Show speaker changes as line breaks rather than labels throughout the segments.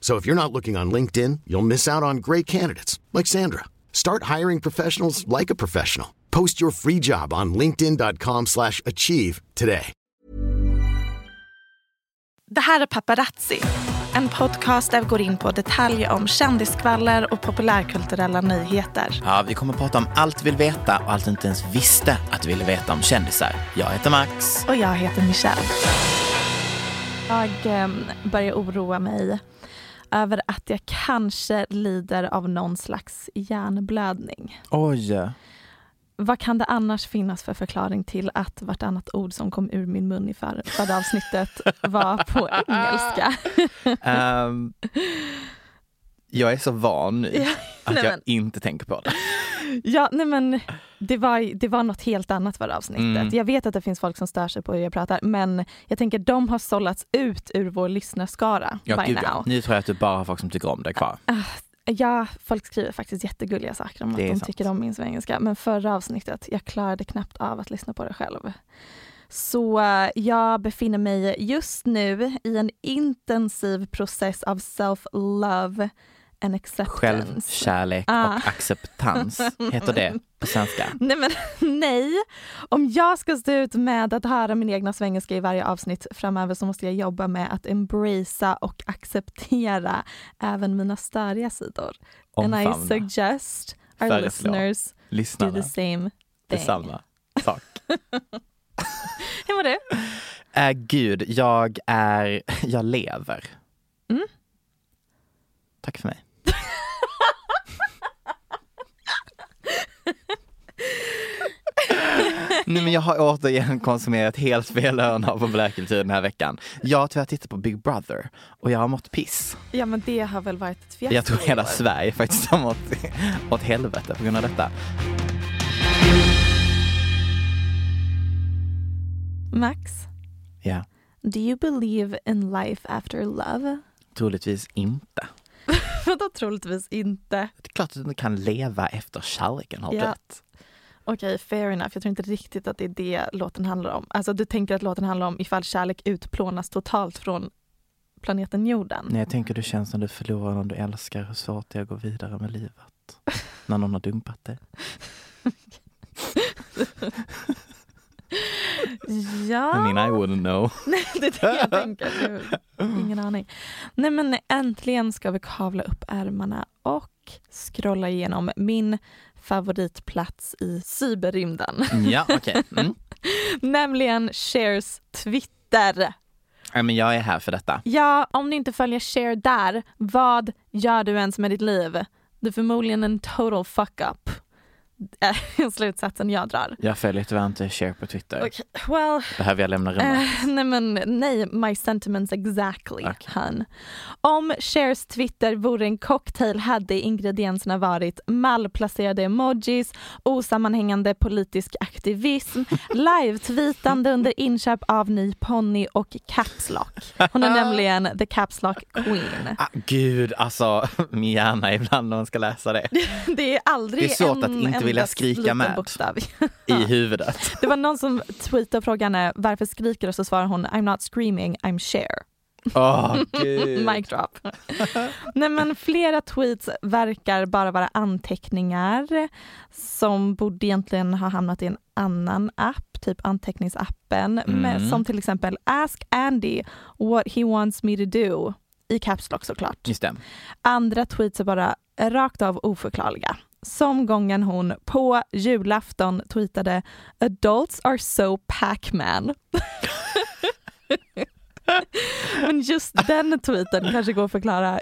So if you're not looking on LinkedIn, you'll miss out on great candidates like Sandra. Start hiring professionals like a professional. Post your free job on linkedin.com/achieve slash achieve today.
Det här är Paparazzi, en podcast där vi går in på detaljer om kändiskvaller och populärkulturella nyheter.
Ja, vi kommer att prata om allt du vill veta och allt du inte ens visste att du ville veta om kändisar. Jag heter Max.
Och jag heter Michelle. Jag eh, börjar oroa mig över att jag kanske lider av någon slags hjärnblödning.
Oj.
Vad kan det annars finnas för förklaring till att vartannat ord som kom ur min mun i för- förra avsnittet var på engelska?
Ehm, jag är så van nu
Ja,
att
nej
jag
men.
inte tänker på det.
Ja, nej men det var, det var något helt annat förra avsnittet.
Mm.
Jag vet att det finns folk som stör sig på hur jag pratar, men jag tänker de har sållats ut ur vår lyssnarskara
Ja,
by
gud, ja.
now.
Nu tror jag att du bara har folk som tycker om dig kvar.
Ja, folk skriver faktiskt jättegulliga saker om att
Det är
de
sant.
tycker om min svengelska, men förra avsnittet, jag klarade knappt av att lyssna på det själv. Så eh, jag befinner mig just nu i en intensiv process av self-love and acceptance.
Självkärlek
Ah.
och acceptans heter det på svenska.
Nej men nej. Om jag ska stå ut med att höra min egna svengelska i varje avsnitt framöver så måste jag jobba med att embracea och acceptera även mina störiga sidor. And I
Omfamna.
suggest our
Föreslå.
listeners do
Lyssnarna.
the same thing.
Detsamma. Sak.
Hur mår du?
Äh, gud, jag är... Jag lever.
Mm.
Tack för mig. Nej men jag har återigen konsumerat helt fel hörna av populärkultur den här veckan. Jag har tyvärr tittat på Big Brother och jag har mått piss.
Ja men det har väl varit ett fiasko
Jag tror
i
hela
år.
Sverige faktiskt har mått åt helvete på grund av detta.
Max,
Ja,
do you believe in life after love?
troligtvis inte.
Vadå troligtvis inte?
Det är klart att du inte kan leva efter kärleken har
Ja.
dött.
Okej, fair enough. Jag tror inte riktigt att det är det låten handlar om. Alltså du tänker att låten handlar om ifall kärlek utplånas totalt från planeten jorden.
Nej, jag tänker du känns när du förlorar någon du älskar, hur svårt det är att gå vidare med livet. När någon har dumpat dig. I
Ja,
mean I wouldn't know.
det är det jag tänker. Du, ingen aning. Nej men äntligen ska vi kavla upp ärmarna och scrolla igenom min favoritplats i cyberrymden.
Ja, okej. Mm.
Nämligen Shares Twitter.
Nej, men jag är här för detta.
Ja, om du inte följer Cher där, vad gör du ens med ditt liv? Du är förmodligen en total fuck up. Är Slutsatsen jag drar.
Jag följer tyvärr inte Cher på Twitter.
Okej, Well,
Behöver jag lämna rummet?
eh, nej men nej, my sentiments exactly,
Okej.
hon. Om Chers Twitter vore en cocktail hade ingredienserna varit malplacerade emojis, osammanhängande politisk aktivism, live-tweetande under inköp av ny ponny och caps lock. Hon är nämligen the caps lock queen.
Ah, gud, alltså min hjärna ibland när man ska läsa det.
Det är aldrig
Det är svårt
en
att inte vilja
endast
skrika
liten
med.
Bokstav.
I huvudet.
Det var någon som tweetade och frågade henne varför skriker du?" och så svarar hon I'm not screaming, I'm share.
Åh, gud.
Mic drop. Nej men flera tweets verkar bara vara anteckningar som borde egentligen ha hamnat i en annan app, typ anteckningsappen,
Mm.
med, som till exempel Ask Andy what he wants me to do i Caps Lock såklart.
Just det.
Andra tweets är bara rakt av oförklarliga. Som gången hon på julafton tweetade “Adults are so Pac-Man”. Men just den tweeten kanske går att förklara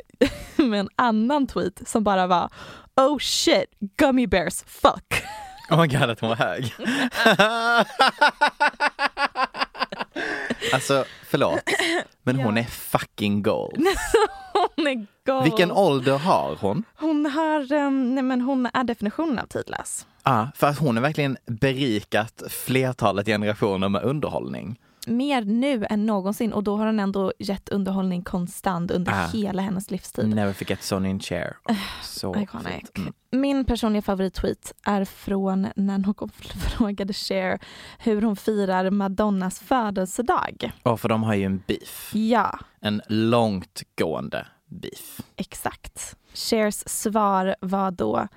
med en annan tweet som bara var “Oh shit, gummy bears, fuck”.
Oh my god att hon var hög. alltså förlåt, men hon är fucking gold.
Hon är gold.
Vilken ålder har hon?
Hon, har, ehm, nej men hon är definitionen av tidlös.
Ja, för att hon har verkligen berikat flertalet generationer med underhållning.
Mer nu än någonsin och då har hon ändå gett underhållning konstant under
Ah.
hela hennes livstid.
Never forget Sonny and Cher. Så
Iconic.
fint. Mm.
Min personliga favorittweet är från när någon frågade Cher hur hon firar Madonnas födelsedag.
Ja, för de har ju en beef.
Ja,
En långtgående beef.
exakt. Chers svar var då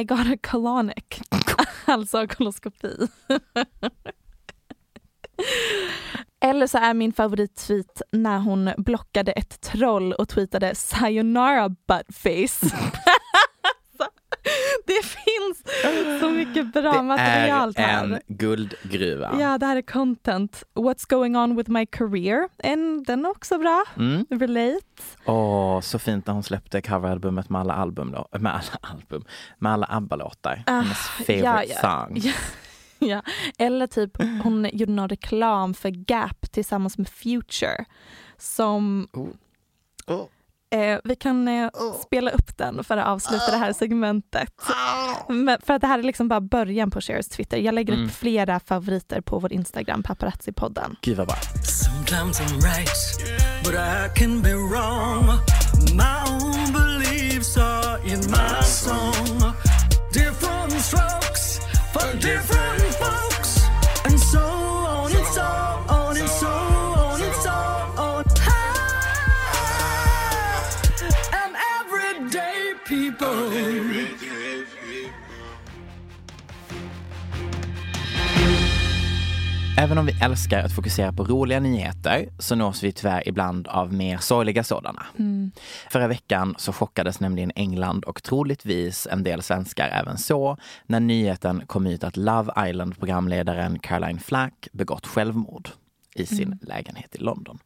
I got a colonic, alltså koloskopi. Eller så är min favorittweet när hon blockade ett troll och tweetade “Sayonara buttface”. Alltså, Det finns så mycket bra
Det
material
är
här.
en guldgruva.
Ja, det här är content. What's going on with my career? En, den är också bra.
Mm.
Relate.
Åh, så fint när hon släppte coveralbumet med alla album då, med alla album, med alla ABBA-låtar. Hennes favorite
Ah, ja,
song.
ja. Ja. Eller typ hon gjorde någon reklam för Gap tillsammans med Future. Som...
Oh.
Eh, vi kan eh, spela upp den för att avsluta det
Oh.
här segmentet. Men för att det här är liksom bara början på Shers Twitter. Jag lägger upp flera favoriter på vår Instagram, paparazzi-podden.
Gud vad bra.
Sometimes I'm right, but I can be wrong. My own beliefs are in my song. Different strokes for different folks, and so on and so on and so on and so on. Ah, And everyday people.
Även om vi älskar att fokusera på roliga nyheter så nås vi tyvärr ibland av mer sorgliga sådana. Förra veckan så chockades nämligen England och troligtvis en del svenskar även så när nyheten kom ut att Love Island-programledaren Caroline Flack begått självmord i sin
Mm.
lägenhet i London.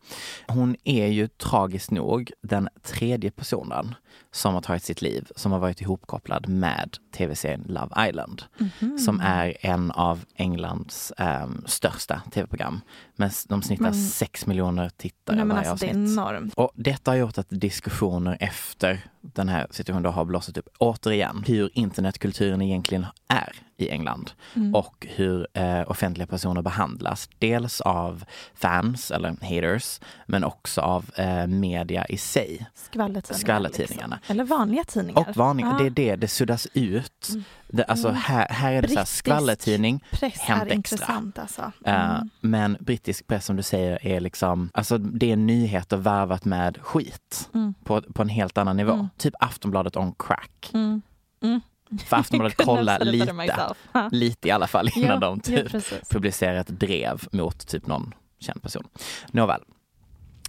Hon är ju tragiskt nog den tredje personen som har tagit sitt liv som har varit ihopkopplad med tv-serien Love Island
Mhm.
som är en av Englands ehm, största tv-program. Men s- de snittar
Men-
6 miljoner tittare
Nej, men
varje
alltså, det är
avsnitt.
enormt.
Och detta har gjort att diskussioner efter den här situationen då har blossat upp återigen hur internetkulturen egentligen är i England
Mm.
och hur eh, offentliga personer behandlas. Dels av fans eller haters men också av eh, media i sig.
Skvallertidningar.
Skvallertidningarna.
Liksom. Eller vanliga tidningar.
Och varning,
Ja. Mm.
det är det, det suddas ut. Det, alltså här, här är det så här,
Brittisk
skvallertidning,
Press
Hänt
är
Extra.
intressant alltså.
Eh, Men brittisk press som du säger är liksom, alltså det är nyheter varvat med skit
Mm.
på, på en helt annan nivå. Typ Aftonbladet on crack.
Mm.
För Aftonbladet kollar
Couldn't have said it better
lite,
myself. Ja.
lite i alla fall innan
Ja,
de
ja,
typ
precis.
publicerar ett drev mot typ någon känd person. Nåväl.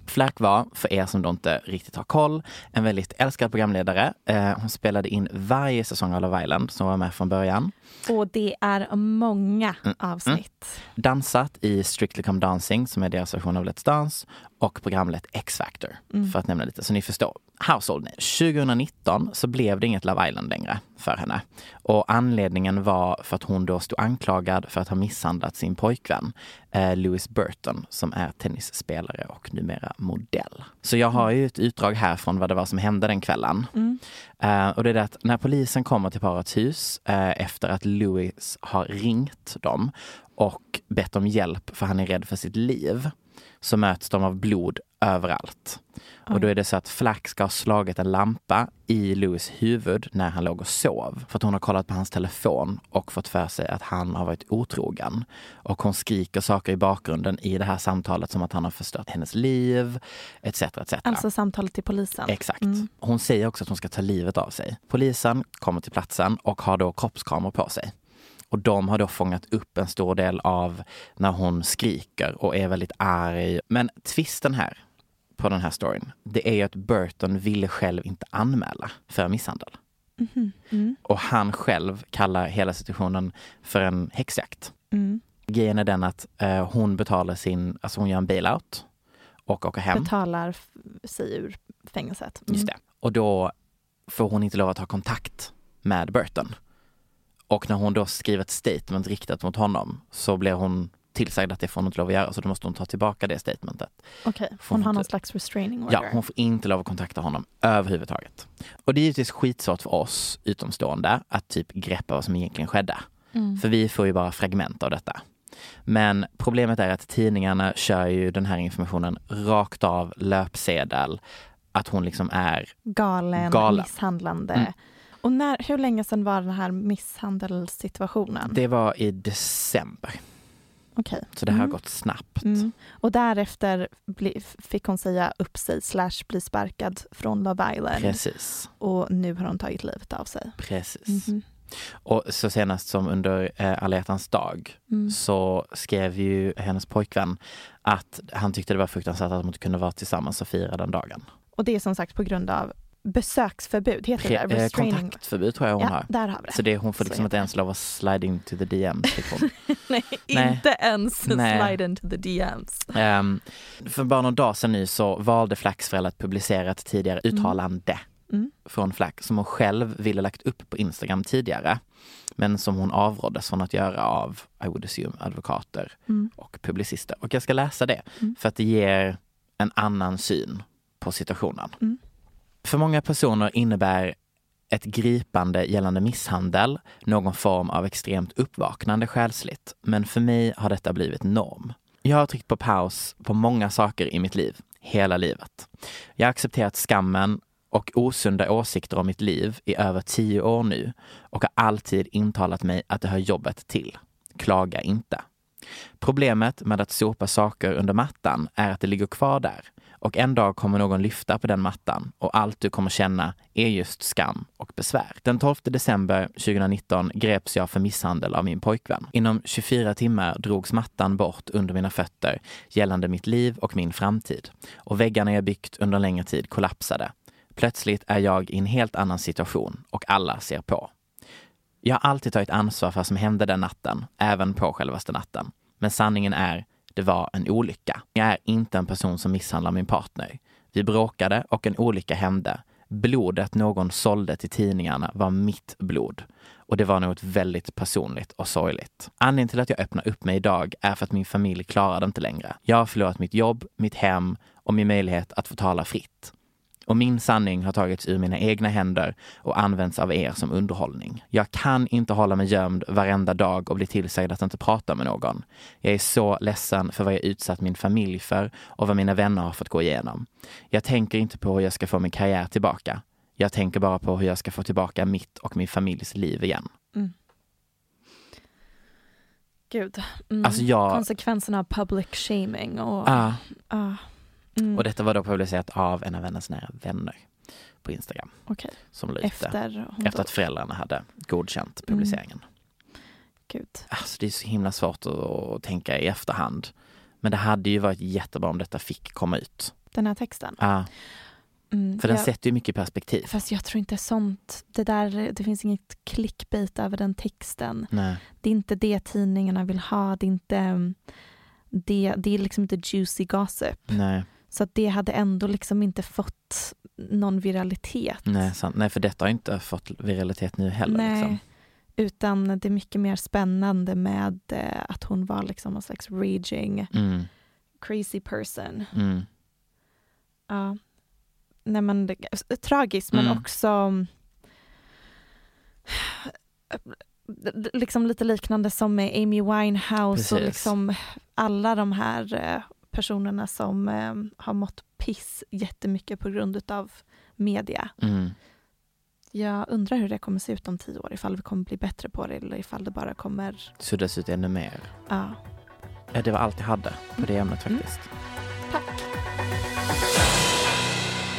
Flack var, för er som då inte riktigt har koll, en väldigt älskad programledare. Eh, hon spelade in varje säsong av Love Island som var med från början.
Och det är många
Mm,
avsnitt.
dansat i Strictly Come Dancing som är deras version av Let's Dance och programmet X-Factor för att nämna lite så ni förstår. Household name. 2019 så blev det inget Love Island längre för henne och anledningen var för att hon då stod anklagad för att ha misshandlat sin pojkvän eh, Louis Burton som är tennisspelare och numera modell. Så jag har ju ett utdrag här från vad det var som hände den kvällen. Eh, och det är det att när polisen kommer till parets hus eh, efter att Louis har ringt dem och bett om hjälp för han är rädd för sitt liv så möts de av blod överallt. Och då är det så att Flack ska ha slagit en lampa i Louis huvud när han låg och sov. För att hon har kollat på hans telefon och fått för sig att han har varit otrogen. Och hon skriker saker i bakgrunden i det här samtalet som att han har förstört hennes liv, etc. etc.
Alltså samtalet till polisen. Mm,
Exakt. Hon säger också att hon ska ta livet av sig. Polisen kommer till platsen och har då kroppskameror på sig. Och de har då fångat upp en stor del av när hon skriker och är väldigt arg. Men twisten här på den här storyn, det är ju att Burton ville själv inte anmäla för misshandel. Och han själv kallar hela situationen för en häxjakt.
Mm.
Grejen är den att eh, hon betalar sin, alltså hon gör en bailout och åker hem.
Betalar f- sig ur fängelset. Mm.
Just det. Och då får hon inte lov att ha kontakt med Burton. Och när hon då skriver ett statement riktat mot honom så blir hon tillsagd att det får hon inte lov att göra så då måste hon ta tillbaka det statementet.
Okej,
Får
hon
inte-
har någon slags restraining order.
Ja, hon får inte lov att kontakta honom överhuvudtaget. Och det är givetvis skitsvårt för oss utomstående att typ greppa vad som egentligen skedde. För vi får ju bara fragment av detta. Men problemet är att tidningarna kör ju den här informationen rakt av löpsedel. Att hon liksom är
Galen,
Galen.
misshandlande.
Mm.
Och när, hur länge sedan var den här misshandelssituationen?
Det var i december,
Okej.
så det här
Mm.
har gått snabbt.
Mm. Och därefter bli, fick hon säga upp sig slash bli sparkad från Love Island.
Precis,
Och nu har hon tagit livet av sig.
precis.
Mhm.
Och så senast som under eh, alla hjärtans dag
Mm.
så skrev ju hennes pojkvän att han tyckte det var fruktansvärt att de inte kunde vara tillsammans och fira den dagen.
Och det är som sagt på grund av besöksförbud, heter det
Pre-
där?
eh,
Restraining.
kontaktförbud tror jag hon
Ja,
har.
där har vi det.
Så det, hon får
Så
liksom
heter
inte ens lov att slide in to the DM. Fick hon.
Nej,
Nej.
inte ens
Nej.
slide into the DMs.
Ehm, för bara någon dag sedan nu så valde Flacks föräldrar att publicera ett tidigare uttalande
Mm.
från Flack som hon själv ville lagt upp på Instagram tidigare. Men som hon avråddes från att göra av, I would assume, advokater
Mm.
och publicister. Och jag ska läsa det
Mm.
för att det ger en annan syn på situationen.
Mm.
För många personer innebär ett gripande gällande misshandel någon form av extremt uppvaknande själsligt. Men för mig har detta blivit norm. Jag har tryckt på paus på många saker i mitt liv, hela livet. Jag har accepterat skammen och osunda åsikter om mitt liv i över tio år nu och har alltid intalat mig att det hör jobbet till. Klaga inte. Problemet med att sopa saker under mattan är att det ligger kvar där och en dag kommer någon lyfta på den mattan och allt du kommer känna är just skam och besvär. Den 12 december 2019 greps jag för misshandel av min pojkvän. Inom 24 timmar drogs mattan bort under mina fötter gällande mitt liv och min framtid och väggarna jag byggt under en längre tid kollapsade. Plötsligt är jag i en helt annan situation och alla ser på. Jag har alltid tagit ansvar för vad som hände den natten, även på självaste natten. Men sanningen är, det var en olycka. Jag är inte en person som misshandlar min partner. Vi bråkade och en olycka hände. Blodet någon sålde till tidningarna var mitt blod. Och det var något väldigt personligt och sorgligt. Anledningen till att jag öppnar upp mig idag är för att min familj klarar det inte längre. Jag har förlorat mitt jobb, mitt hem och min möjlighet att få tala fritt. Och min sanning har tagits ur mina egna händer och använts av er som underhållning. Jag kan inte hålla mig gömd varenda dag och bli tillsagd att inte prata med någon. Jag är så ledsen för vad jag utsatt min familj för och vad mina vänner har fått gå igenom. Jag tänker inte på hur jag ska få min karriär tillbaka. Jag tänker bara på hur jag ska få tillbaka mitt och min familjs liv igen.
Mm, Gud. Mm.
Alltså jag...
Konsekvenserna av public shaming och...
Ah,
Ah. Mm.
och detta var då publicerat av en av hennes nära vänner på Instagram
Okej,
som la ut det.
efter Mm. hon
Efter
dog.
att föräldrarna hade godkänt publiceringen.
Gud.
Alltså det är så himla svårt att- att tänka i efterhand. Men det hade ju varit jättebra om detta fick komma ut.
Den här texten.
Ja,
Mm,
för den
jag-
sätter ju mycket perspektiv.
Fast jag tror inte sånt, det där, det finns inget clickbait över den texten.
Nej.
Det är inte det tidningarna vill ha, det är inte um, det, det är liksom inte juicy gossip.
Nej,
Så att det hade ändå liksom inte fått någon viralitet.
nej, sant. nej, för detta har inte fått viralitet nu heller.
Nej.
Liksom.
Utan det är mycket mer spännande med eh, att hon var liksom någon slags raging
Mm,
crazy person.
mm,
Ja. Nej, men det, tragiskt men
Mm.
också eh, liksom lite eh, liknande som med Amy Winehouse och
Precis.
liksom alla de här eh, personerna som eh, har mått piss jättemycket på grund utav media.
Mm.
Jag undrar hur det kommer se ut om tio år, ifall vi kommer bli bättre på det eller ifall det bara kommer...
Suddas ut ännu mer.
Ja.
Ja, det var allt jag hade på det ämnet
Mm.
faktiskt.
Tack.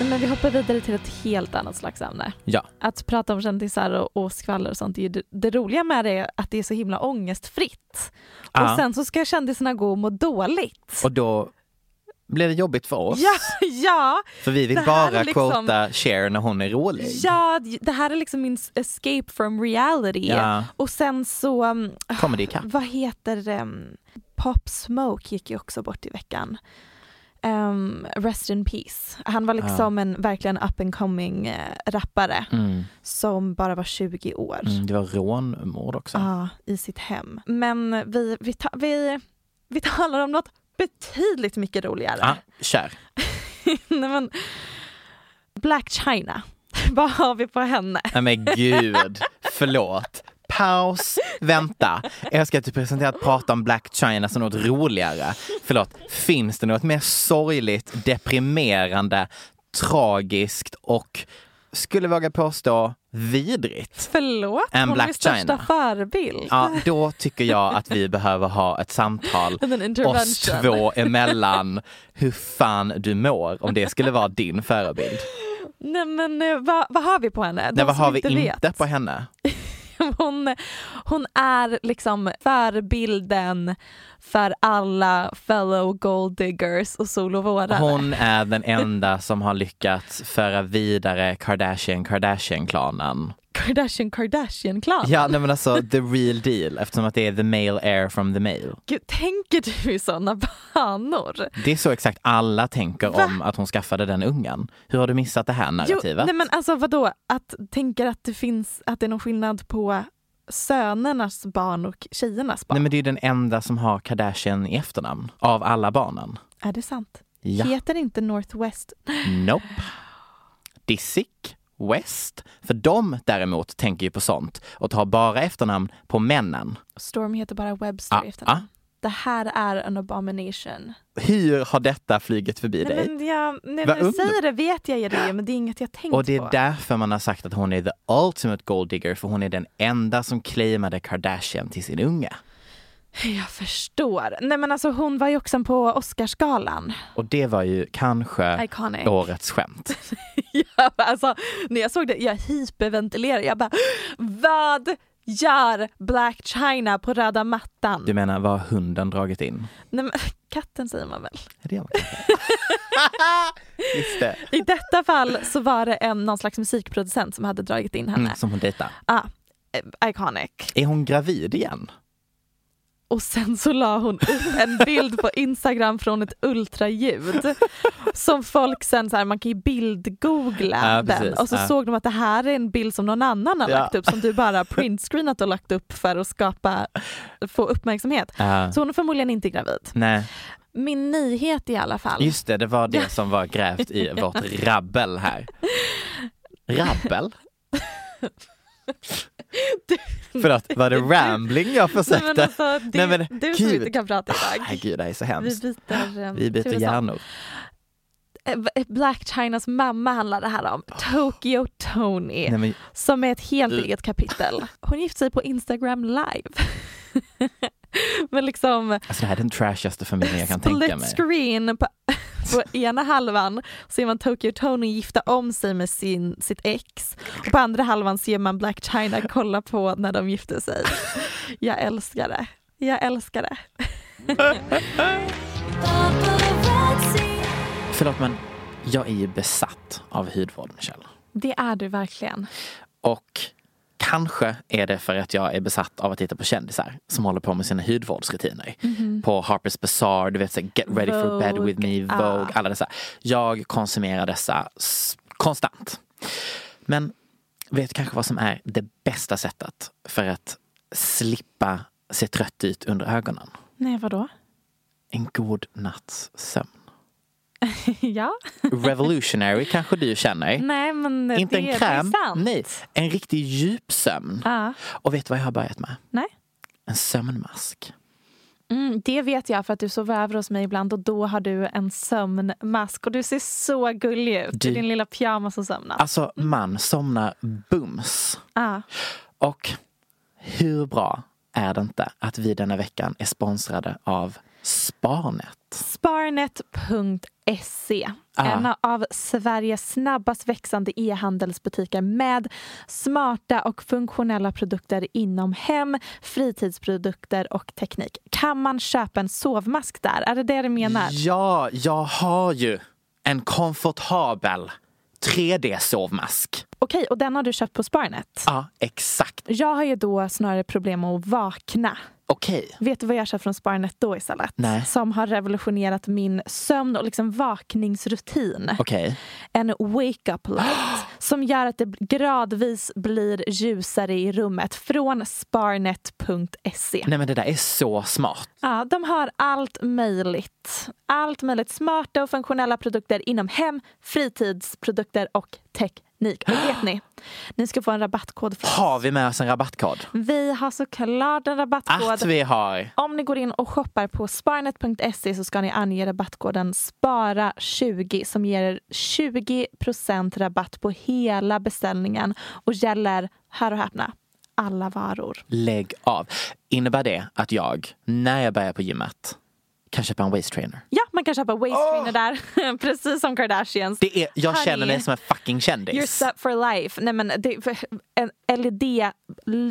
Nej, Men vi hoppar vidare till ett helt annat slags ämne.
Ja.
Att prata om kändisar och, och skvaller och sånt, är ju det, det roliga med det är att det är så himla ångestfritt.
Ja.
Och sen så ska kändisarna gå och må dåligt.
Och då blev det jobbigt för oss.
Ja, ja,
För vi vill
Det här är
bara
liksom-
quota Cher när hon är rolig.
ja, det här är liksom min escape from reality.
Ja.
Och sen så, um,
Kommer det ikapp?
vad heter det, um, Pop Smoke gick ju också bort i veckan. Um, rest in peace. Han var liksom en verkligen up and coming eh, rappare
Mm.
som bara var 20 år.
Mm, det var rånmord också.
Ja, i sitt hem. Men vi, vi, ta, vi, vi talar om något betydligt mycket roligare.
Ah, Cher.
Nej, men, Black China. Vad har vi på henne?
Nej men gud, förlåt. Paus, vänta. Jag ska till presentera att prata om Black China som något roligare. Förlåt, finns det något mer sorgligt, deprimerande, tragiskt och skulle våga påstå vidrigt?
Förlåt,
En
hon
Black
är största
China.
förebild.
Ja, då tycker jag att vi behöver ha ett samtal
En intervention.
oss två emellan hur fan du mår om det skulle vara din förebild.
Nej men eh, vad, vad har vi på henne? De
Nej, vad
som
har vi
vet.
inte på henne?
hon, hon är liksom förebilden för alla fellow gold diggers och solovårdare.
Hon är den enda som har lyckats föra vidare Kardashian Kardashian-klanen.
Kardashian Kardashian-klan.
Ja, nej men alltså the real deal eftersom att det är the male air from the male.
Gud, tänker du i sådana banor?
Det är så exakt alla tänker om att hon skaffade den ungen. Hur har du missat det här narrativet?
nej men alltså vadå, att tänker att det finns, att det är någon skillnad på sönernas barn och tjejernas barn.
Nej, men det är ju den enda som har Kardashian i efternamn av alla barnen.
Är det sant?
Ja.
Heter inte Northwest?
Nope. Disick, West. För de däremot tänker ju på sånt och tar bara efternamn på männen.
Storm heter bara Webster
Ah,
i efternamn. Det här är en abomination.
Hur har detta flugit förbi dig?
Nej, men jag, nej,
Vad
när du
undrar-
säger det vet jag ju det, men det är inget jag tänkt
Och det
på.
är därför man har sagt att hon är the ultimate gold digger för hon är den enda som claimade Kardashian till sin unge.
Jag förstår. Nej men alltså hon var ju också på Oscarsgalan.
Och det var ju kanske
Iconic.
årets skämt.
Ja, alltså, när jag såg det, jag hyperventilerade. Jag bara, vad gör Black China på röda mattan?
Du menar, vad har hunden dragit in?
Nej, men, katten säger man väl?
Är det vad man säger? Just det.
I detta fall så var det en, någon slags musikproducent som hade dragit in henne.
Mm, som hon dejtar.
Ah, eh, iconic.
Är hon gravid igen?
Och sen så la hon upp en bild på Instagram från ett ultraljud som folk sen så här, man kan ju bildgoogla
Ja, precis.
den och så
Ja.
såg de att det här är en bild som någon annan har
Ja.
lagt upp som du bara printscreenat och lagt upp för att skapa, få uppmärksamhet.
Ja.
Så hon är förmodligen inte gravid.
Nej,
Min nyhet i alla fall.
just det, det var det som var grävt i vårt rabbel här. Rabbel? Förlåt, var det rambling jag
Nej,
försökte?
men alltså, det,
Nej, men
du som
gud.
inte kan prata
Nej
idag.
gud, Ah, det här är så
Vi
hemskt.
byter, eh,
Vi byter
tusan.
hjärnor.
Eh, v- Black Chinas mamma handlar det här om. Tokyo Tony.
Ah. Nej, men,
som är ett helt
Mm.
eget kapitel. Hon gifte sig på Instagram live. Men liksom
alltså, det här är den trashigaste familjen jag kan tänka
split
mig.
screen på, på ena halvan ser man Tokyo Tony gifta om sig med sin, sitt ex. Och på andra halvan ser man Black China kolla på när de gifte sig. Jag älskar det. Jag älskar det.
Förlåt men, jag är ju besatt av hudvård Michelle.
Det är du verkligen.
Och kanske är det för att jag är besatt av att titta på kändisar som håller på med sina hudvårdsrutiner. På Harper's Bazaar, du vet så här, Get ready for bed
Mhm. Vogue, Ah.
with me, Vogue, alla dessa. Jag konsumerar dessa s- konstant. Men vet du kanske vad som är det bästa sättet för att slippa se trött ut under ögonen?
Nej, vadå?
En god natts sömn.
ja?
Revolutionary kanske du känner.
Nej, men
Inte
det
en
är
kräm,
sant.
nej. En riktig djupsömn.
Ja.
Och vet du vad jag har börjat med?
Nej.
En sömnmask.
Mm, det vet jag för att du sover över hos mig ibland och då har du en sömnmask och du ser så gullig ut
Du-
i din lilla pyjamas och sömnar.
Alltså
Mm.
man somnar bums.
ah,
Och hur bra är det inte att vi denna veckan är sponsrade av Sparnet?
Sparnet.se
Ah.
E. En av Sveriges snabbast växande e-handelsbutiker med smarta och funktionella produkter inom hem, fritidsprodukter och teknik. Kan man köpa en sovmask där? Är det det du menar?
Ja, jag har ju en komfortabel 3D-sovmask.
Okej, och den har du köpt på Sparnet?
Ja, exakt.
Jag har ju då snarare problem med att vakna.
Okej.
Vet du vad jag kör från Sparnet då istället?
Nej.
Som har revolutionerat min sömn och liksom vakningsrutin.
Okej.
En wake-up light som gör att det gradvis blir ljusare i rummet från sparnet.se.
Nej men det där är så smart.
Ja, de har allt möjligt. Allt möjligt. Smarta och funktionella produkter inom hem, fritidsprodukter och teknik. Och vet ni? Ni ska få en rabattkod från
Har vi med oss en rabattkod?
Vi har såklart en rabattkod.
Att vi har.
Om ni går in och shoppar på sparnet.se E så ska ni ange rabattkoden SPARA20 som ger er 20 rabatt på hela beställningen och gäller, hör och häpna, alla varor.
Lägg av. Innebär det att jag, när jag börjar på gymmet, kan köpa en waist trainer?
Ja, man kan köpa waist trainer där, precis som Kardashians.
Det är, jag
Honey,
känner mig som en fucking
You're
kändis.
set for life. Nej, men det, en LED,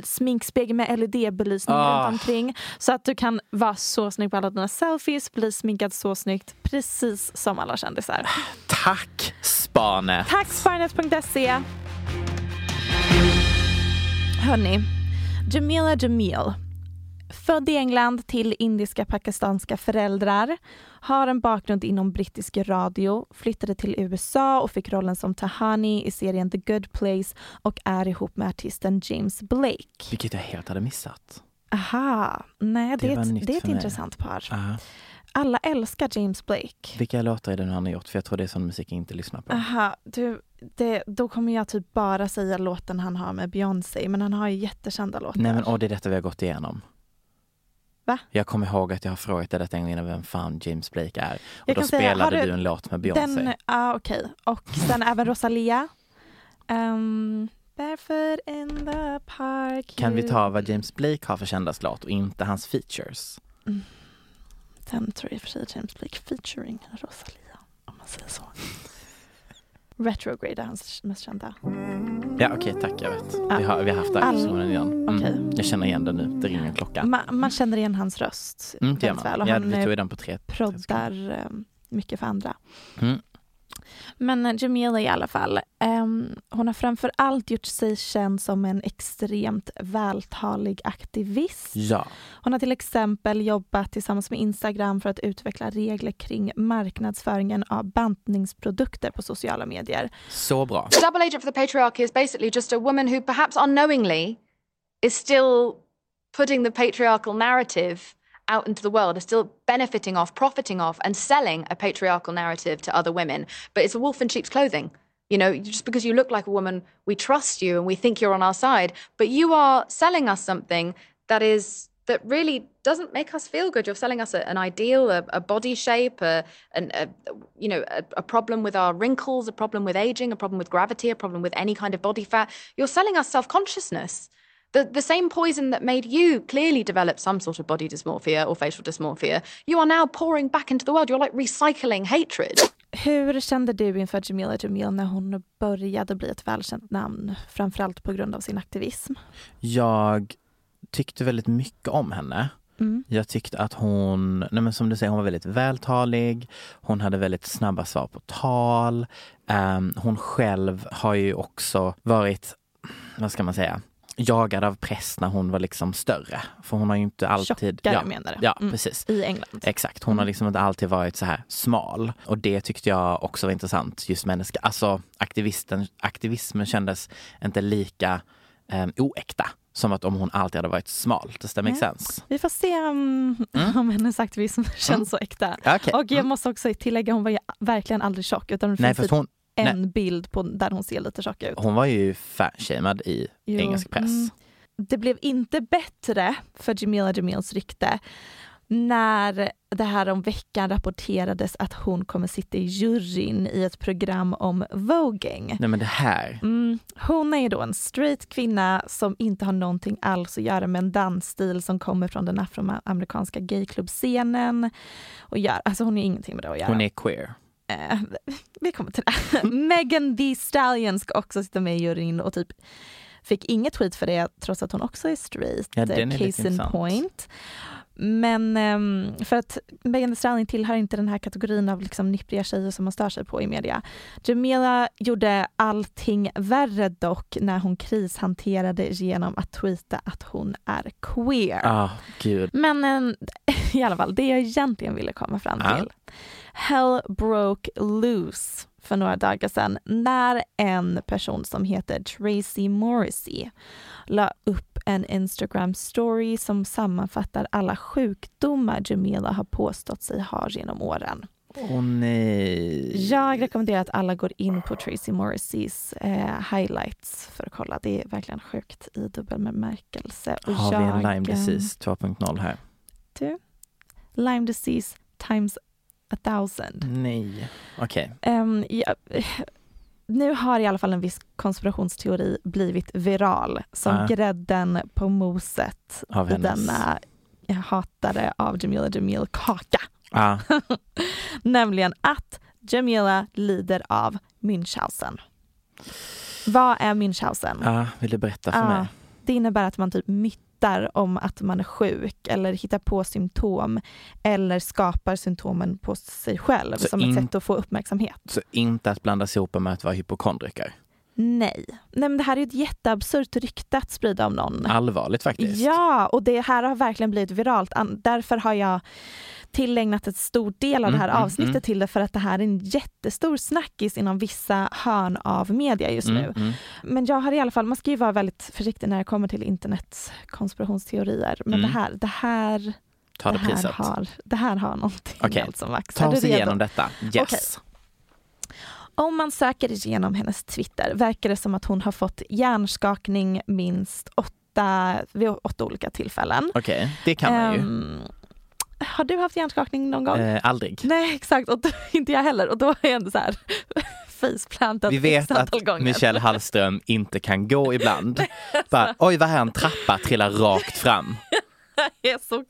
sminkspegel med LED-belysning
Ah.
runt omkring. Så att du kan vara så snygg på alla dina selfies, bli sminkad så snyggt, precis som alla kändisar.
Tack Sparnet!
Tack Sparnet.se. Hörni, Jamila Jamil. Född i England till indiska pakistanska föräldrar. Har en bakgrund inom brittisk radio. Flyttade till USA och fick rollen som Tahani i serien The Good Place och är ihop med artisten James Blake.
Vilket jag helt hade missat.
Aha, nej det,
Det var
är ett,
nytt
det är ett
för mig.
intressant par.
Aha.
Alla älskar James Blake.
Vilka låtar är det nu han har gjort? För jag tror det är sån musik jag inte lyssnar på.
Aha, du, det, då kommer jag typ bara säga låten han har med Beyoncé, men han har ju jättekända låtar.
Nej men åh, det är detta vi har gått igenom.
Va?
Jag kommer ihåg att jag har frågat dig detta en gång innan vem fan James Blake är. Och
Jag
då
kan säga, har
spelade
du
du en låt med Beyoncé.
Den, ah, okej. Och sen även Rosalia. Ehm, barefoot in the park.
Kan vi
you-
ta vad James Blake har för kändast låt och inte hans features?
Den tror jag i och för sig James Blake featuring Rosalia, om man säger så. Retrograde är hans mest kända.
Ja okej, tack jag vet.
Ja.
Vi, har, vi har haft den här
All-
diskussionen innan. Mm.
Okej.
Jag känner igen den nu, det ringer en klocka.
Ma- man känner igen hans röst
Mm, det gör man.
väl och
Ja,
han
vi
eh,
tog ju den på tre. tre sekunder.
proddar ehm, mycket för andra.
Mm.
Men eh, Jamila i alla fall, ehm, hon har framför allt gjort sig känd som en extremt vältalig aktivist.
Ja,
Hon har till exempel jobbat tillsammans med Instagram för att utveckla regler kring marknadsföringen av bantningsprodukter på sociala medier.
så bra.
The double agent for the patriarchy is basically just a woman who, perhaps unknowingly, is still putting the patriarchal narrative out into the world, is still benefiting off, profiting off, and selling a patriarchal narrative to other women. But it's a wolf in sheep's clothing. You know, just because you look like a woman, we trust you and we think you're on our side. But you are selling us something that is that really doesn't make us feel good. You're selling us a, an ideal, a, a body shape, a, an, a you know, a, a problem with our wrinkles, a problem with aging, a problem with gravity, a problem with any kind of body fat. You're selling us self consciousness. The, the same poison that made you clearly develop some sort of body dysmorphia or facial dysmorphia, you are now pouring back into the world. You're like recycling hatred.
Hur kände du inför Jamila Jamil när hon började bli ett välkänt namn, framförallt på grund av sin aktivism?
Jag tyckte väldigt mycket om henne.
Mm.
Jag tyckte att hon, nej men som du säger, hon var väldigt vältalig. Hon hade väldigt snabba svar på tal. Ehm, hon själv har ju också varit, vad ska man säga, jagad av press när hon var liksom större. För hon har ju inte alltid...
Tjockare menar du?
Ja,
Mm.
precis.
I England?
Exakt, hon har
Mm.
liksom inte alltid varit så här smal. Och det tyckte jag också var intressant. Just människa, alltså aktivisten, aktivismen kändes inte lika eh, oäkta som att om hon alltid hade varit smal. Det stämmer
Nej.
inte sens.
Vi får se om, om hennes aktivism känns så äkta.
Mm. Okej. Mm.
Och jag måste också tillägga, hon var ju verkligen aldrig tjock utan det
Nej,
finns
fast
typ
hon,
en bild på där hon ser lite tjock ut.
hon var ju fatshamed i
Jo,
engelsk press.
mm. Det blev inte bättre för Jamila Jamils rykte när det här om veckan rapporterades att hon kommer sitta i juryn i ett program om voguing.
Nej men det här.
Mm. Hon är ju då en straight kvinna som inte har någonting alls att göra med en dansstil som kommer från den afroamerikanska gayklubbscenen. Och gör, alltså hon har ju ingenting med det att göra.
Hon är queer.
Eh, vi kommer till det. Megan Thee Stallion ska också sitta med i juryn och typ fick inget skit för det trots att hon också är straight.
Ja, den är lite
Case in
intressant.
point. Men ehm, för att Megan Thee Stallion tillhör inte den här kategorin av liksom nippriga tjejer som man stör sig på i media. Jamila gjorde allting värre dock när hon krishanterade genom att tweeta att hon är queer.
Ja, Ah, gud.
Men eh, i alla fall, det jag egentligen ville komma fram
Ja.
till. Hell broke loose för några dagar sedan när en person som heter Tracy Morrissey la upp en Instagram story som sammanfattar alla sjukdomar Jamila har påstått sig ha genom åren.
Åh nej.
Jag rekommenderar att alla går in på Tracy Morrisseys eh, highlights för att kolla. Det är verkligen sjukt i dubbel bemärkelse. Och
Har vi en
jag,
Lyme
ehm,
disease 2.0 här?
Lyme disease times a thousand.
Nej. Okej.
Ehm, ja, nu har i alla fall en viss konspirationsteori blivit viral som
Ja.
grädden på moset
Av
i
hennes.
denna hatare av Jamila Jamil kaka.
Ja.
Nämligen att Jamila lider av Münchhausen. Vad är Münchhausen?
Ja, ah, vill du berätta för
Ja,
mig?
Det innebär att man typ myttar om att man är sjuk eller hittar på symptom eller skapar symptomen på sig själv
Så
som
in-
ett sätt att få uppmärksamhet.
Så inte att blandas ihop med att vara hypokondriker.
Nej. Nej men det här är ju ett jätteabsurt rykte att sprida om någon.
Allvarligt faktiskt.
Ja, och det här har verkligen blivit viralt. An- Därför har jag tillägnat ett stor del av det här
Mm, mm,
avsnittet
mm.
till det för att det här är en jättestor snackis inom vissa hörn av media just nu.
Mm, mm.
Men jag har i alla fall, man ska ju vara väldigt försiktig när det kommer till internetkonspirationsteorier. Men
Mm.
det här, det här,
Ta
det
det
här,
priset.
har, det här har någonting
Okej.
alltså Max.
Ta
Är du
oss
redo?
igenom detta. Yes.
Om man söker igenom hennes Twitter verkar det som att hon har fått hjärnskakning minst åtta, vid åtta olika tillfällen.
Okej, det kan man ju.
Ehm, har du haft hjärnskakning någon gång?
Eh, aldrig.
Nej exakt, och då, inte jag heller. Och då är jag ändå så här faceplantat
Vi vet
x antal
att
gånger.
Michelle Hallström inte kan gå ibland.
alltså.
Bara, Oj, vad här en trappa trillar rakt fram.
Jag är så,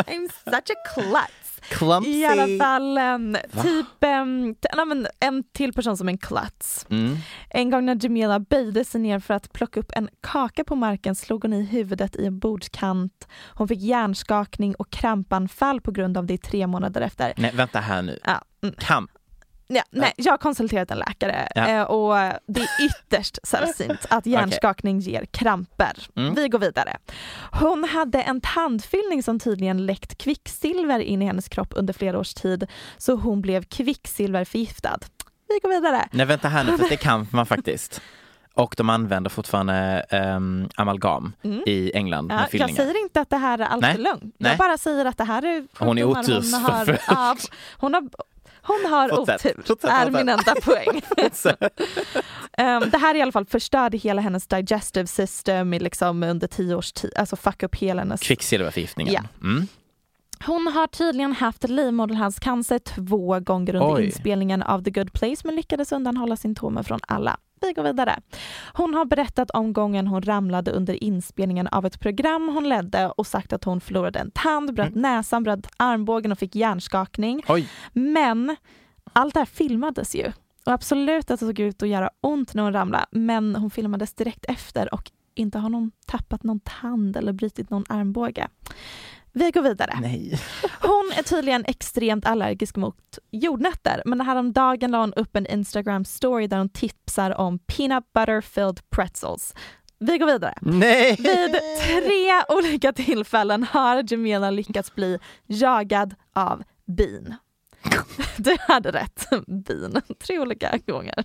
I'm such a klutz.
Clumsy.
I alla fall em, typ em, t- nej, men en till person som en klutz.
Mm.
En gång när Jamila böjde sig ner för att plocka upp en kaka på marken slog hon i huvudet i en bordskant. Hon fick hjärnskakning och krampanfall på grund av det i tre månader efter.
Nej, vänta här nu.
Ja, mm.
Kamp.
Ja, nej, jag har konsulterat en läkare
Ja.
eh, och det är ytterst sällsynt att hjärnskakning ger kramper.
Mm.
Vi går vidare. Hon hade en tandfyllning som tydligen läckt kvicksilver in i hennes kropp under flera års tid så hon blev kvicksilverförgiftad. Vi går vidare.
Nej, vänta här nu, för det kan man faktiskt. Och de använder fortfarande ehm, amalgam i England
Mm. Ja,
med
jag
fyllningar.
säger inte att det här är allt
Nej,
är lugnt.
nej.
Jag bara säger att det här är
Hon är
sjukdomar
otursförföljd.
Hon har, ja, hon har, hon har
Fortsätt,
otur,
fortsätt,
är
fortsätt.
min enda poäng. Ehm, det här i alla fall förstörde hela hennes digestive system i liksom under tio års tid, alltså fuck upp hela hennes
Kvicksilverförgiftningen.
Ja.
Mm.
hon har tydligen haft livmoderhalscancer två gånger under
Oj.
inspelningen av The Good Place men lyckades undanhålla symptomen från alla. Vi går vidare. Hon har berättat om gången hon ramlade under inspelningen av ett program hon ledde och sagt att hon förlorade en tand, bröt näsan, bröt armbågen och fick hjärnskakning.
Oj,
Men allt det här filmades ju. Och absolut att det såg ut att göra ont när hon ramlade men hon filmades direkt efter och inte har någon tappat någon tand eller brutit någon armbåge. Vi går vidare.
nej.
Hon är tydligen extremt allergisk mot jordnötter men häromdagen la hon upp en Instagram story där hon tipsar om peanut butter filled pretzels. Vi går vidare.
Nej!
Vid tre olika tillfällen har Jamila lyckats bli jagad av bin. Du hade rätt. Bin. Tre olika gånger.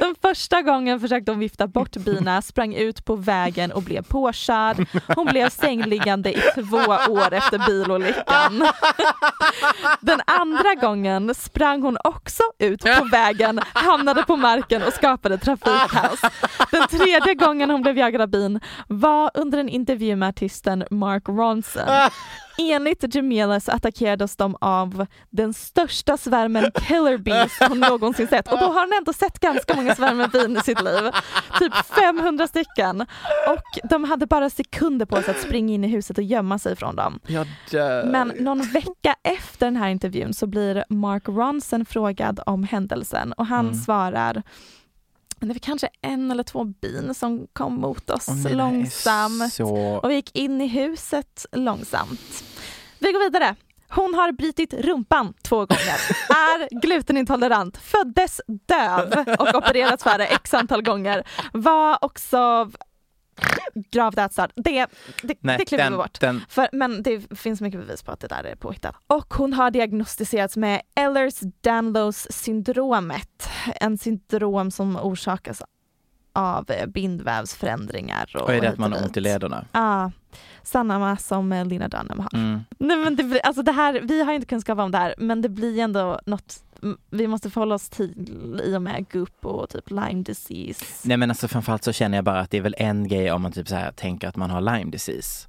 Den första gången försökte hon vifta bort bina, sprang ut på vägen och blev påkörd. Hon blev sängliggande i två år efter bilolyckan. Den andra gången sprang hon också ut på vägen, hamnade på marken och skapade trafikkaos. Den tredje gången hon blev jagad av bin var under en intervju med artisten Mark Ronson. Enligt Jamila så attackerades de av den största svärmen killer bees hon någonsin sett och då har hon ändå sett ganska många svärmen bin i sitt liv. Typ 500 stycken. Och de hade bara sekunder på sig att springa in i huset och gömma sig från dem.
Jag dör.
Men någon vecka efter den här intervjun så blir Mark Ronson frågad om händelsen och han
Mm.
svarar det var kanske en eller två bin som kom mot oss
Åh, nej, det här är
långsamt
Så...
och vi gick in i huset långsamt. Vi går vidare. Hon har brutit rumpan två gånger, är glutenintolerant, föddes döv och opererats för det x antal gånger. Var också gravt ätstörd. Det, det,
Nej,
det kliver vi
den-
bort.
den-
För, men det finns mycket bevis på att det där är påhittat. Och hon har diagnostiserats med Ehlers-Danlos syndromet. En syndrom som orsakas av eh, bindvävsförändringar. Och,
Och är det att
hit
man
och
har ont i
dit.
lederna?
Ja, samma som eh, Lina Dunham har.
Mm.
Nej, men det blir, alltså det här, vi har ju inte kunskap om det här men det blir ändå något m- vi måste förhålla oss till i och med gupp och typ Lyme disease.
Nej men alltså framförallt så känner jag bara att det är väl en grej om man typ så här tänker att man har Lyme disease.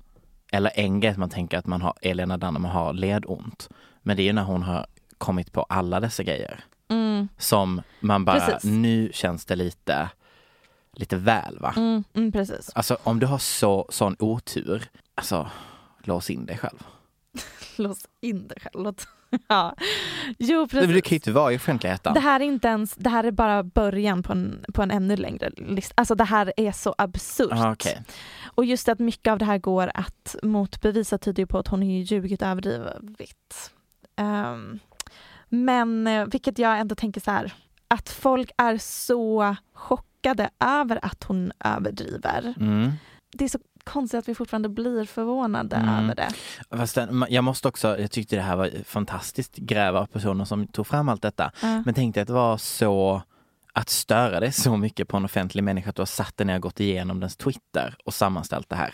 Eller en grej att man tänker att man har Elena Dunham har ledont. Men det är ju när hon har kommit på alla dessa grejer.
Mm,
Som man bara,
Precis.
nu känns det lite, lite väl va?
mm, mm, precis.
Alltså om du har så, sån otur, alltså lås in dig själv.
Lås in dig själv. Låt- Ja. Jo precis.
Du kan ju inte vara i offentligheten.
Det här är inte ens, det här är bara början på en, på en ännu längre lista. Alltså det här är så absurt.
Ah, okej.
Och just att mycket av det här går att motbevisa tyder ju på att hon har ju ljugit överdrivet. Ehm, men eh, vilket jag ändå tänker så här, att folk är så chockade över att hon överdriver.
Mm.
Det är så konstigt att vi fortfarande blir förvånade
Mm.
över det.
Fast den, jag måste också, jag tyckte det här var fantastiskt gräva av personer som tog fram allt detta.
Ja.
Men tänkte att det var så att störa dig så mycket på en offentlig människa att du har satt den när jag gått igenom dens Twitter och sammanställt det här.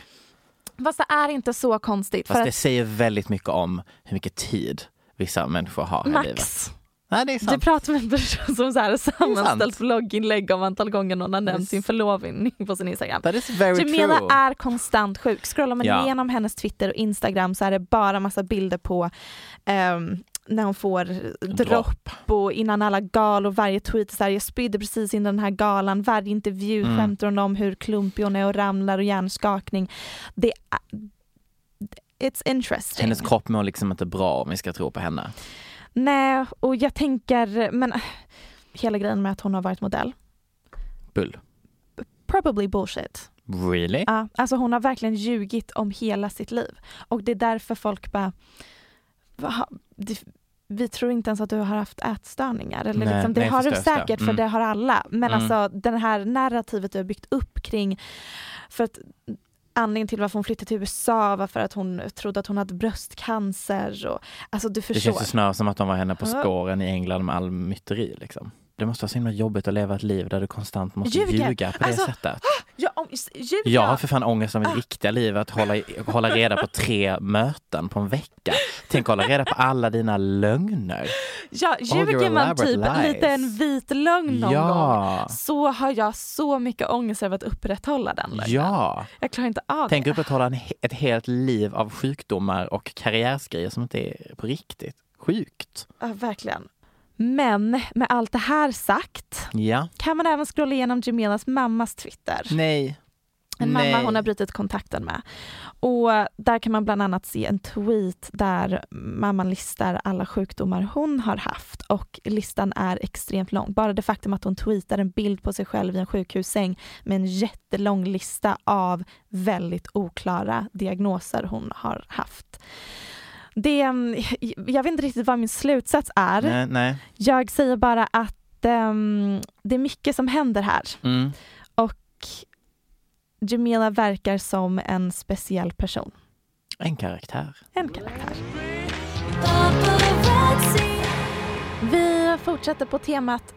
Fast det är inte så konstigt.
Fast
För
det
att
säger väldigt mycket om hur mycket tid vissa människor har här i livet.
Max,
Nej, det är
du
sant.
pratar med en person som så här har sammanställt blogginlägg om antal gånger någon har nämnt
Yes.
sin förlovning på sin Instagram.
That is very
Jamila
true.
är konstant sjuk. Scrollar man
Ja.
igenom hennes Twitter och Instagram så är det bara massa bilder på ehm, när hon får dropp och innan alla gal och varje tweet är så här, jag spydde precis innan den här galan, varje intervju
Mm.
skämtar hon om hur klumpig hon är och ramlar och hjärnskakning. Det är, it's interesting.
Hennes kropp mår liksom inte bra om vi ska tro på henne.
Nej, och jag tänker, men äh, hela grejen med att hon har varit modell,
Bull.
probably bullshit.
Really?
Ja, alltså hon har verkligen ljugit om hela sitt liv. Och det är därför folk bara, "Va? Det- vi tror inte ens att du har haft ätstörningar. Eller
Nej,
liksom, det
nej,
har du
förstår, förstår.
säkert
Mm.
för det har alla. Men
Mm.
alltså det här narrativet du har byggt upp kring, för att anledningen till varför hon flyttade till USA var för att hon trodde att hon hade bröstcancer. Och, alltså du
Det
förstår.
känns ju snarare som att de var henne på
Ja.
skåren i England med all myteri liksom. Det måste vara så himla jobbigt att leva ett liv där du konstant måste
Ljuger.
ljuga på det
Alltså,
sättet.
Ja, om, Julia,
Jag har för fan ångest om
Ah.
mitt riktiga liv att hålla, hålla reda på tre möten på en vecka. Tänk hålla reda på alla dina lögner.
ja,
your
ljuger man
elaborate
typ
lies.
lite en vit lögn någon gång
Ja,
så har jag så mycket ångest över att upprätthålla den lögnen.
ja.
Jag klarar inte av
Tänk
det.
upprätthålla en, he- ett helt liv av sjukdomar och karriärsgrejer som inte är på riktigt. Sjukt.
Ja, verkligen. Men med allt det här sagt
Ja.
kan man även scrolla igenom Jamelas mammas Twitter.
Nej.
En mamma
Nej.
hon har brutit kontakten med. Och där kan man bland annat se en tweet där mamman listar alla sjukdomar hon har haft och listan är extremt lång. Bara det faktum att hon tweetar en bild på sig själv i en sjukhussäng med en jättelång lista av väldigt oklara diagnoser hon har haft. Det, jag vet inte riktigt vad min slutsats är.
Nej, nej.
Jag säger bara att ehm, det är mycket som händer här.
Mm.
Och Jamila verkar som en speciell person.
En karaktär.
En karaktär. fortsätter på temat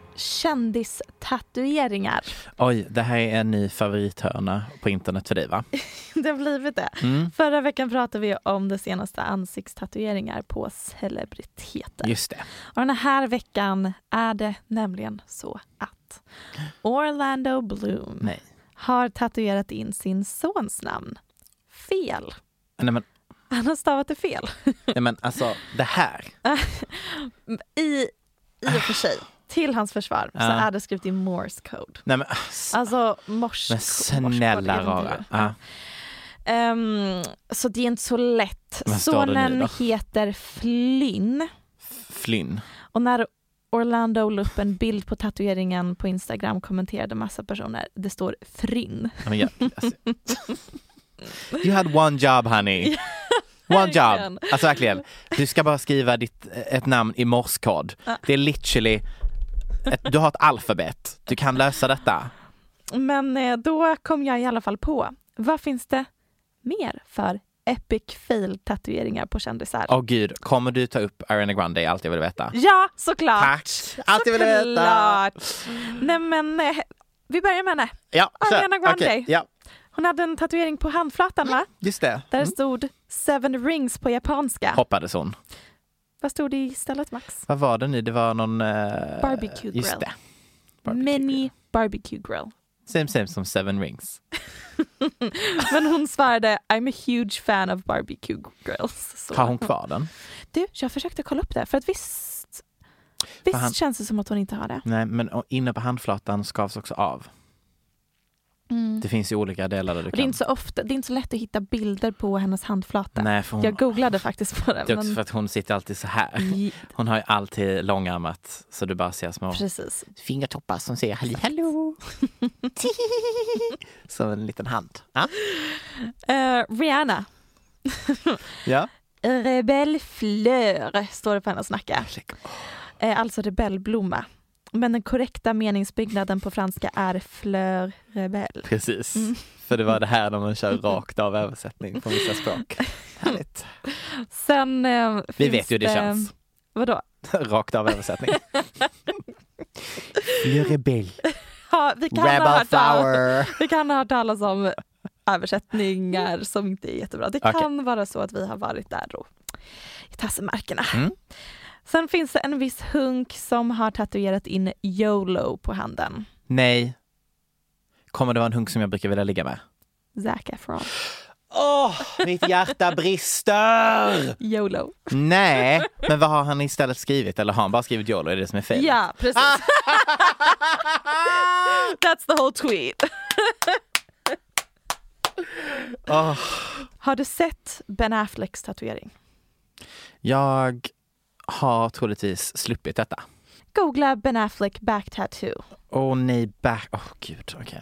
kändistatueringar.
Oj, det här är en ny favorithörna på internet för dig va?
Det har blivit det.
Mm.
Förra veckan pratade vi om det senaste ansiktstatueringar på celebriteter.
Just det.
Och den här veckan är det nämligen så att Orlando Bloom
Nej.
har tatuerat in sin sons namn. Fel.
Nej men,
Han har stavat det fel.
nej, men alltså det här.
I, i och för sig, till hans försvar, så
Ja.
är det skrivet i Morse code.
Nej men, alltså,
Alltså morse
men snälla rara. Ja.
Ehm, så det är inte så lätt.
Vad står det nu
Sonen
då?
heter Flynn
Flynn.
och när Orlando la upp en bild på tatueringen på Instagram kommenterade massa personer. Det står Frinn.
Nej, Men, jag, alltså. You had one job honey. One
verkligen.
job. Alltså verkligen. Du ska bara skriva ditt, eh, ett namn i morsekod. Det är literally, ett, du har ett alfabet. Du kan lösa detta.
Men eh, då kom jag i alla fall på, vad finns det mer för epic fail tatueringar på kändisar?
Åh gud, kommer du ta upp Ariana Grande i Allt jag vill veta?
Ja, såklart!
Tack! Allt jag vill veta!
Såklart. Nej men, eh, vi börjar med henne.
Ja, kör.
Ariana Grande.
Okej, ja,
Hon hade en tatuering på handflatan va?
just det. Mm.
Där stod seven rings på japanska.
Hoppades hon.
Vad stod det istället Max?
Vad var det nu? Det var någon... eh,
Barbecue grill.
Just det. Barbecue grill.
Mini barbecue grill.
Same same som Seven Rings.
Men hon svarade I'm a huge fan of barbecue grills. Så.
Har hon kvar den?
Du, jag försökte kolla upp det för att visst, visst
han-
känns det som att hon inte har det.
Nej, men och inne på handflatan skavs också av. Det finns ju olika delar där du
Mm. Och det, är
kan...
inte så ofta, det är inte så lätt att hitta bilder på hennes handflata.
Nej, för hon...
Jag googlade faktiskt på
Det
det.
är också för
Men...
att hon sitter alltid så här. Hon har ju alltid långarmat så du bara ser små
Precis.
fingertoppar som säger halli hallå. som en liten hand. Ja.
Eh, Rihanna.
ja.
Rebell Fleur står det på hennes nacka. Eh, alltså rebellblomma. Men den korrekta meningsbyggnaden på franska är fleur rebell.
Precis. För det var det här när man kör rakt av översättning från vissa språk. Härligt.
Sen eh,
Vi
finns
vet ju hur det känns.
Vadå?
Rakt av översättning. Le rebell.
Ja, vi, kan ha
Rebel
hört tal-
flower.
vi kan ha hört talas om översättningar som inte är jättebra. Det
Okej.
kan vara så att vi har varit där och i tassemarkerna.
Mm.
Sen finns det en viss hunk som har tatuerat in YOLO på handen.
Nej. Kommer det vara en hunk som jag brukar vilja ligga med?
Zac Efron.
Åh, mitt hjärta brister!
YOLO.
Nej, men vad har han istället skrivit? Eller har han bara skrivit YOLO? Är det det som är fel?
Ja, precis. That's the whole tweet.
Åh,
Har du sett Ben Afflecks tatuering?
jag har troligtvis sluppit detta.
Googla Ben Affleck back tattoo.
Åh nej, back... Åh gud, okej.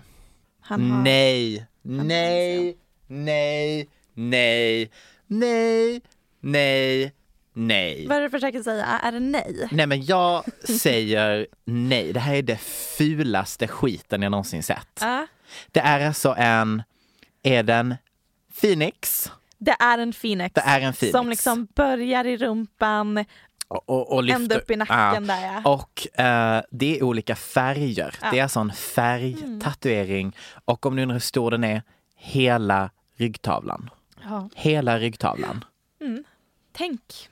Han har...
Nej,
har
nej, nej, nej, nej, nej, nej.
Vad är det du försöker säga? Är det nej?
Nej men jag säger nej. Det här är det fulaste skiten jag någonsin sett.
Ja.
Det är alltså en, är den Phoenix?
Det är en Phoenix.
Det är en Phoenix.
Som liksom börjar i rumpan,
Och, och, och lyfter,
ända upp i
Ja.
nacken där ja.
Och eh, det är olika färger. Det är alltså en färgtatuering. Och om ni undrar hur stor den är, hela ryggtavlan.
ja.
Hela ryggtavlan.
Tänk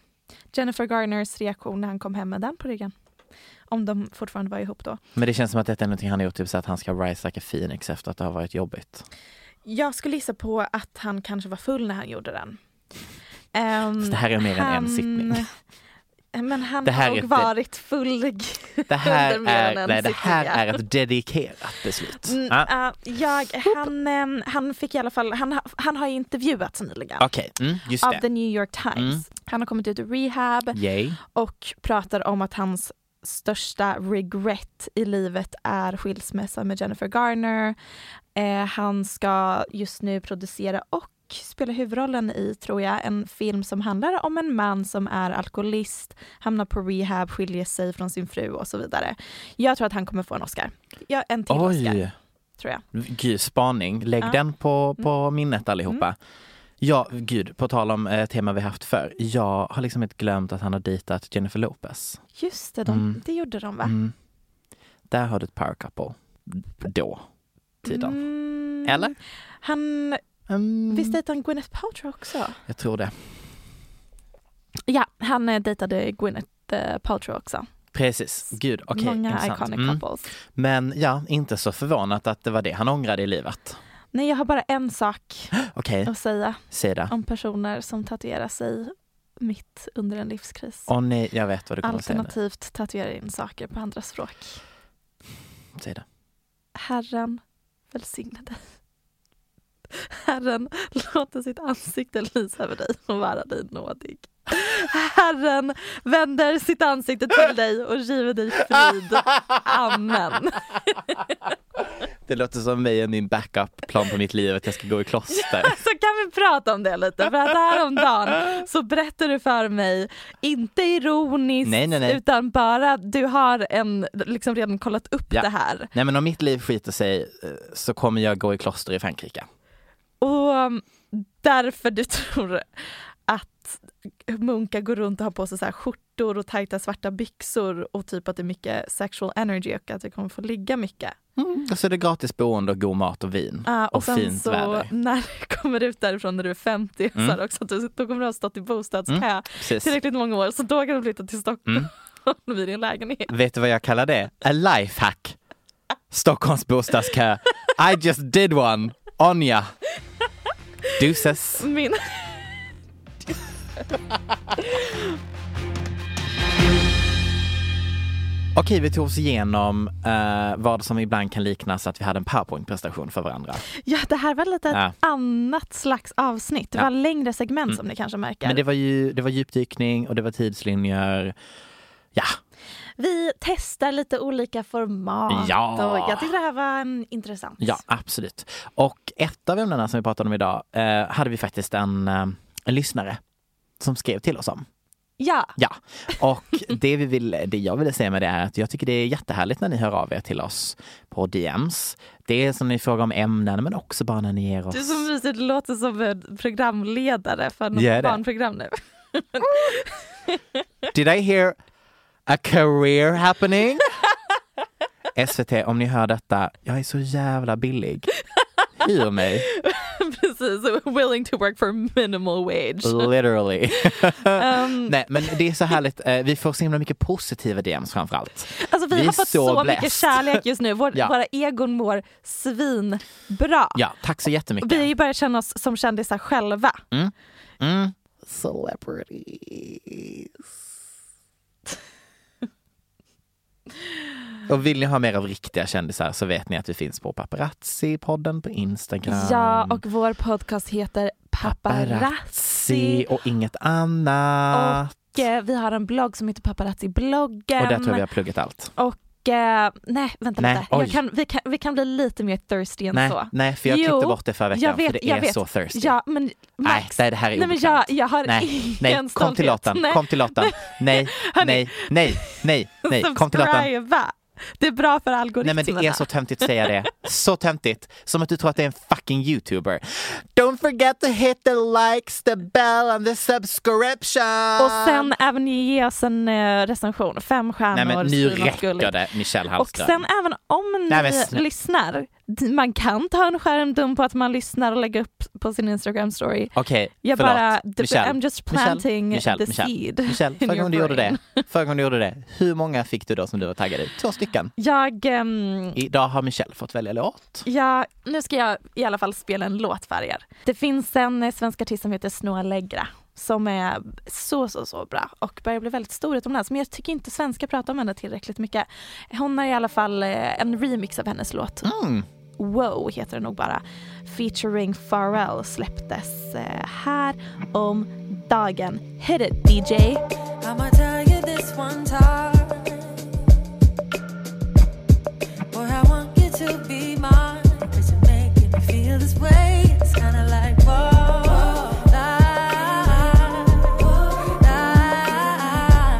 Jennifer Garners reaktion när han kom hem med den på ryggen. Om de fortfarande var ihop då.
Men det känns som att detta är någonting han har gjort, typ så att han ska rise like a phoenix efter att det har varit jobbigt.
Jag skulle gissa på att han kanske var full när han gjorde den. Ehm,
Så det här är mer än en sittning.
Men han
Det här
har
är
nog
ett-
varit full.
Det här,
Under mer än
är,
en
nej, det här
sittning,
är ett dedikerat beslut.
Mm,
Ah,
ja, jag, han, ehm, han fick i alla fall, han, ha- han har ju intervjuats nyligen.
Okej, mm, just
Av The
det.
New York Times.
Mm.
Han har kommit ut ur rehab
Yay.
och pratar om att hans största regret i livet är skilsmässa med Jennifer Garner. Eh, han ska just nu producera och spela huvudrollen i, tror jag, en film som handlar om en man som är alkoholist, hamnar på rehab, skiljer sig från sin fru och så vidare. Jag tror att han kommer få en Oscar. Ja, en till Oscar, Ah.
Oj,
tror jag.
gud spaning. Lägg
Ja. Mm.
den på, på minnet allihopa. Ja, gud, på tal om eh, tema vi haft för. Jag har liksom inte glömt att han har dejtat Jennifer Lopez.
Just det, de,
Mm.
det gjorde de va?
Mm. Där har du ett power couple. Då. Tiden.
Mm.
Eller?
Han,
Mm.
visst dejtade han Gwyneth Paltrow också?
Jag tror det.
Ja, han eh, dejtade Gwyneth eh, Paltrow också.
Precis. Gud, okej.
Många
intressant.
iconic
Mm.
couples.
Men ja, inte så förvånat att det var det han ångrade i livet.
Nej, jag har bara en sak
Okej,
att säga
säg det.
om personer som tatuerar sig mitt under en livskris.
Åh nej, jag vet vad du kommer att säga nu.
Alternativt tatuerar in saker på andra språk.
Säg det.
Herren välsigne dig. Herren låter sitt ansikte lysa över dig och vara dig nådig. Herren vänder sitt ansikte till dig och giver dig frid. Amen.
Det låter som mig och min backup-plan på mitt liv att jag ska gå i kloster.
Så kan vi prata om det lite för att häromdagen så berättar du för mig, inte ironiskt
Nej, nej, nej.
utan bara du har en, liksom redan kollat upp
Ja.
det här.
Nej men om mitt liv skiter sig eh, så kommer jag gå i kloster i Frankrike.
Och um, därför du tror att munkar går runt och har på sig så här skjortor och tajta svarta byxor och typ att det är mycket sexual energy och att vi kommer få ligga mycket.
Och så är det gratis boende och god mat och vin.
Mm. Ah,
och
sen
fint
så
väder. Mm.
när du kommer ut därifrån när du är 50 så här också att du, då kommer du ha stått i bostadskö
Precis. Mm.
tillräckligt många år så då kan du flytta till Stockholm vid din lägenhet.
Vet du vad jag kallar det? A lifehack. Stockholms bostadskö. I just did one. Onja. Deuces.
Min
Okej, vi tog oss igenom eh, vad som ibland kan liknas att vi hade en powerpoint-presentation för varandra.
Ja, det här var lite ett
Ja.
annat slags avsnitt. Det
Ja. Mm.
var längre segment som ni kanske märker.
Men det var ju det var djupdykning och det var tidslinjer. Ja,
Vi testar lite olika format
Ja.
och jag tyckte det här var mm, intressant.
ja absolut. Och ett av ämnena som vi pratade om idag eh, hade vi faktiskt en, eh, en lyssnare som skrev till oss om.
Ja,
Ja, och det, vi vill, det jag ville säga med det är att jag tycker det är jättehärligt när ni hör av er till oss på DMs. Det är som ni frågar om ämnen men också bara när ni ger oss...
du är så mysig. Du låter som en programledare för något
Gör det.
barnprogram nu.
Did I hear a career happening? SVT, om ni hör detta, jag är så jävla billig. Hyr mig,
Precis, willing to work for minimal wage.
literally.
Um.
Nej, men det är så härligt. Eh, Vi får så himla mycket positiva DMs framförallt.
Alltså vi,
Vi är
har fått
så
så, mycket
blessed.
kärlek just nu. Vår,
Ja.
Våra egon mår svinbra.
Ja, tack så jättemycket.
Vi har ju börjat känna oss som kändisar själva.
Mm. Celebrities. Och vill ni ha mer av riktiga kändisar så vet ni att vi finns på Paparazzi-podden på Instagram.
Ja, och vår podcast heter Paparazzi.
Paparazzi och inget annat.
Och eh, vi har en blogg som heter Paparazzi-bloggen.
Och där tror jag vi har pluggat allt.
Och eh, nej, vänta
Nej,
lite.
oj.
Jag kan, vi, kan, vi kan bli lite mer thirsty än
Nej,
så.
nej, för jag
Jo,
klippte bort det förra veckan
jag vet,
för det
jag
är
vet.
så thirsty.
Ja, men
nej,
Max.
det det här är
nej, men
obekvämt.
jag, jag har
Nej,
ingen
nej, kom till
stolthet.
låten,
Nej.
kom till låten. Nej, nej, nej, nej, nej, kom till låten.
Subscriba. Det är bra för
Nej
algoritmerna.
men det är så töntigt att säga det. Så töntigt. Som att du tror att det är en fucking youtuber. Don't forget to hit the likes, the bell and the subscription!
Och sen även ge oss en eh, recension, fem stjärnor.
Nej men
skriv
nu
något
räcker
gulligt.
det Michelle
Och
Hallström.
sen även om ni
Nej, men snä-
lyssnar, d- man kan ta en skärmdump på att man lyssnar och lägga upp på sin Instagram story.
Okej,
Jag
förlåt.
bara, d-
Michelle,
I'm just
Michelle,
planting
Michelle,
the
Michelle,
seed
Michelle,
in
förra
your
gången du gjorde
brain.
det, förra gången du gjorde det, hur många fick du då som du var taggad i? Två stycken.
Jag, ehm,
Idag har Michelle fått välja låt.
jag, nu ska jag i alla fall spela en låt för er. Det finns en eh, svensk artist som heter Snoa Legra som är så, så, så bra och börjar bli väldigt stor utomlands. Men jag tycker inte svenskar pratar om henne tillräckligt mycket. Hon har i alla fall eh, en remix av hennes låt.
Mm.
Wow heter den nog bara. Featuring Pharrell släpptes eh, här om dagen. Hit it DJ!
I'ma tell you this one time. Boy, I want you to be mine. Cause you're making me feel this way. It's kinda like, whoa, lie, lie,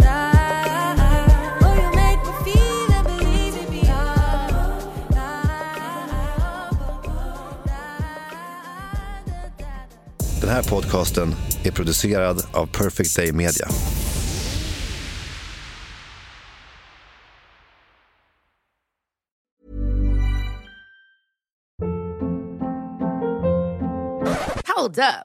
lie. Oh, you make me feel and believe it beyond. Lie, lie, da, da, da.
podcasten är producerad av Perfect Day Media.
Hold up.